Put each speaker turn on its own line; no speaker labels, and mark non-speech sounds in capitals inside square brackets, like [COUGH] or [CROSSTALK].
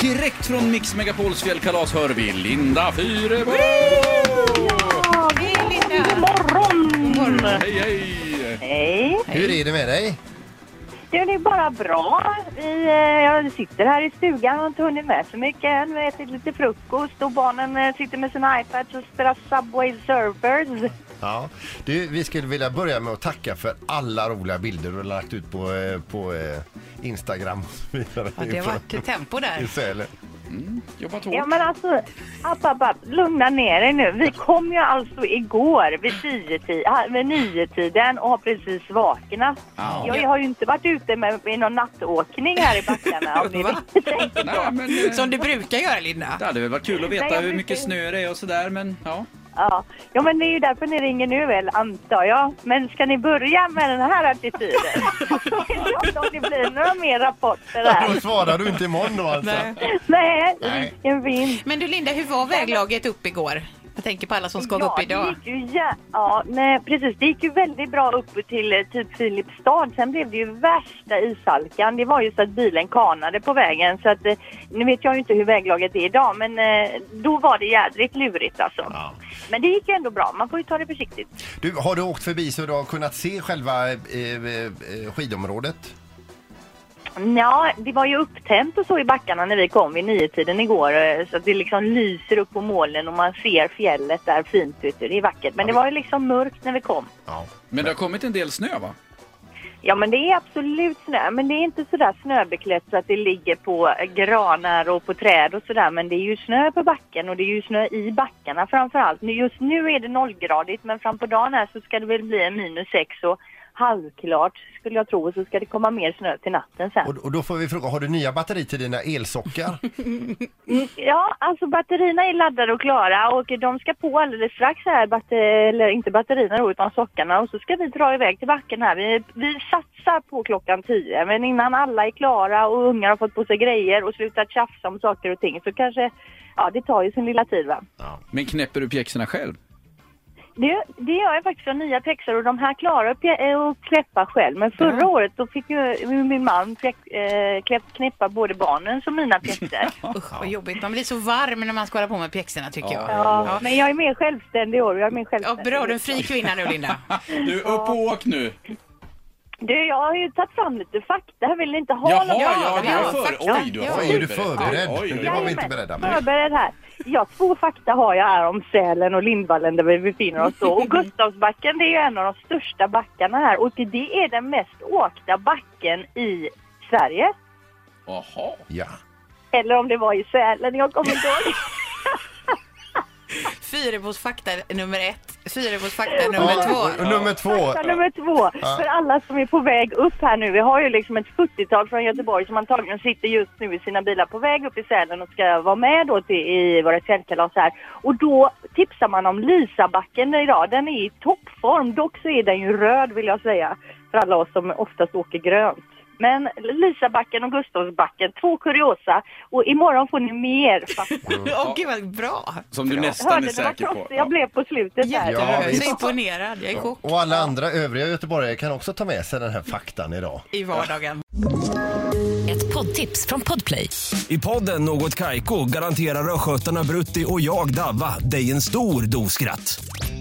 Direkt från Mix Megapols fjällkalas hör vi Linda Fyrebo!
Ja, det är
God
Linda.
morgon!
Hej, hej!
Hej!
Hur är det med dig?
Jo, det är bara bra. Vi, eh, jag sitter här i stugan och har inte hunnit med så mycket än. Vi har ätit lite frukost och barnen eh, sitter med sina iPads och spelar Subway Surfers.
Ja. Du, vi skulle vilja börja med att tacka för alla roliga bilder du har lagt ut på, eh, på eh, Instagram [LAUGHS] och så vidare.
Ja, det var ett tempo
I
där.
Sälen.
Jobbat
Ja,
hårt.
men alltså, app, app, app, lugna ner dig nu. Vi kom ju alltså igår vid, 10-ti- ah, vid niotiden och har precis vaknat.
Ja.
Jag har ju inte varit ute med, med någon nattåkning här i backarna om ni
Va?
vill tänka
Nej,
på.
men, eh,
[LAUGHS] Som du brukar göra Linda.
det hade väl varit kul att
Nej,
veta
jag
hur mycket
brukar-
snö det är och sådär, men ja.
Ja. ja, men det är ju därför ni ringer nu väl, antar jag. Men ska ni börja med den här attityden? Jag vet inte om det blir några mer rapporter
Då
här.
svarar du inte imorgon då alltså.
Nej.
Nej,
Nej.
risken finns.
Men du Linda, hur var väglaget upp igår? Jag tänker på alla som ska gå upp
Ja,
idag.
det gick ju, jä- ja nej, precis. Det gick ju väldigt bra upp till eh, typ Filipstad. Sen blev det ju värsta ishalkan. Det var ju så att bilen kanade på vägen. Så att, eh, nu vet jag ju inte hur väglaget är idag, men eh, då var det jädrigt lurigt alltså.
Ja.
Men det gick ju ändå bra. Man får ju ta det försiktigt.
Du, har du åkt förbi så du har kunnat se själva eh, eh, skidområdet?
Ja, det var ju upptänt och så i backarna när vi kom vid niotiden igår. eh, Så att det liksom lyser upp på molnen och man ser fjället där fint ute. Det är vackert. Men det var ju liksom mörkt när vi kom.
Ja.
Men det har kommit en del snö, va?
Ja, men det är absolut snö. Men det är inte sådär snöbeklätt så att det ligger på granar och på träd och sådär. Men det är ju snö på backen och det är ju snö i backarna framför allt. Nu, just nu är det nollgradigt, men fram på dagen här så ska det väl bli en minus sex och halvklart skulle jag tro. Och så ska det komma mer snö till natten sen.
Och, och då får vi fråga, har du nya batteri till dina elsockar?
Mm, Ja, alltså batterierna är laddade och klara och de ska på alldeles strax här, batter- eller inte batterierna då utan sockarna och så ska vi dra iväg till backen här. Vi, vi satsar på klockan 10 men innan alla är klara och ungar har fått på sig grejer och slutat tjafsa om saker och ting så kanske, ja det tar ju sin lilla tid va.
Ja.
Men knäpper du pjäxorna själv?
Det, det gör jag faktiskt av nya pjäxor och de här klarar jag pjä- eh, att kläppa själv. Men förra året då fick ju min man pjäx- eh, kläpp- knäppa både barnens och mina pjäxor.
[LAUGHS] Usch vad jobbigt. Man blir så varm när man ska hålla på med pjäxorna tycker jag.
Ja, men jag är mer självständig i år. Jag är mer
Ja,
självständig.
bra, du är en fri kvinna nu [LAUGHS] Linda.
Du, upp och åk nu!
Du, jag har ju tagit fram lite fakta. Jag vill inte ha
Jaha,
någon
ja, du
ja,
är för...
faktiskt.
Oj, du har
Ja.
Oj, är du förberedd?
Oj, oj,
Det var vi
oj.
inte beredda på.
Förbered här. Ja, två fakta har jag här om Sälen och Lindvallen där vi befinner oss då. Och Gustavsbacken det är ju en av de största backarna här och det är den mest åkta backen i Sverige.
Jaha.
[LAUGHS] Ja.
Eller om det var i Sälen, jag kommer inte ihåg.
Fyrebos fakta nummer ett, Fyrebos fakta nummer
Ja,
två.
och- och nummer två.
Fakta nummer två. För alla som är på väg upp här nu. Vi har ju liksom ett 40-tal från Göteborg som antagligen sitter just nu i sina bilar på väg upp i Sälen och ska vara med då till, i våra fjällkalas här. Och då tipsar man om Lisabacken idag. Den är i toppform. Dock så är den ju röd vill jag säga. För alla oss som oftast åker grönt. Men Lisabacken och Gustavsbacken, två kuriosa. Och imorgon får
[LAUGHS]
ni mer fakta.
Åh gud vad bra!
Som du
Hörde
nästan är
ni vad
säker på.
proffsig jag blev på slutet där?
Ja,
Jättebra, jag är
visst.
så imponerad. Jag är i chock
Och alla andra övriga göteborgare kan också ta med sig den här faktan idag.
i vardagen.
Ett poddtips från Podplay.
I podden Något Kaiko garanterar östgötarna Brutti och jag, Davva, dig en stor dos skratt.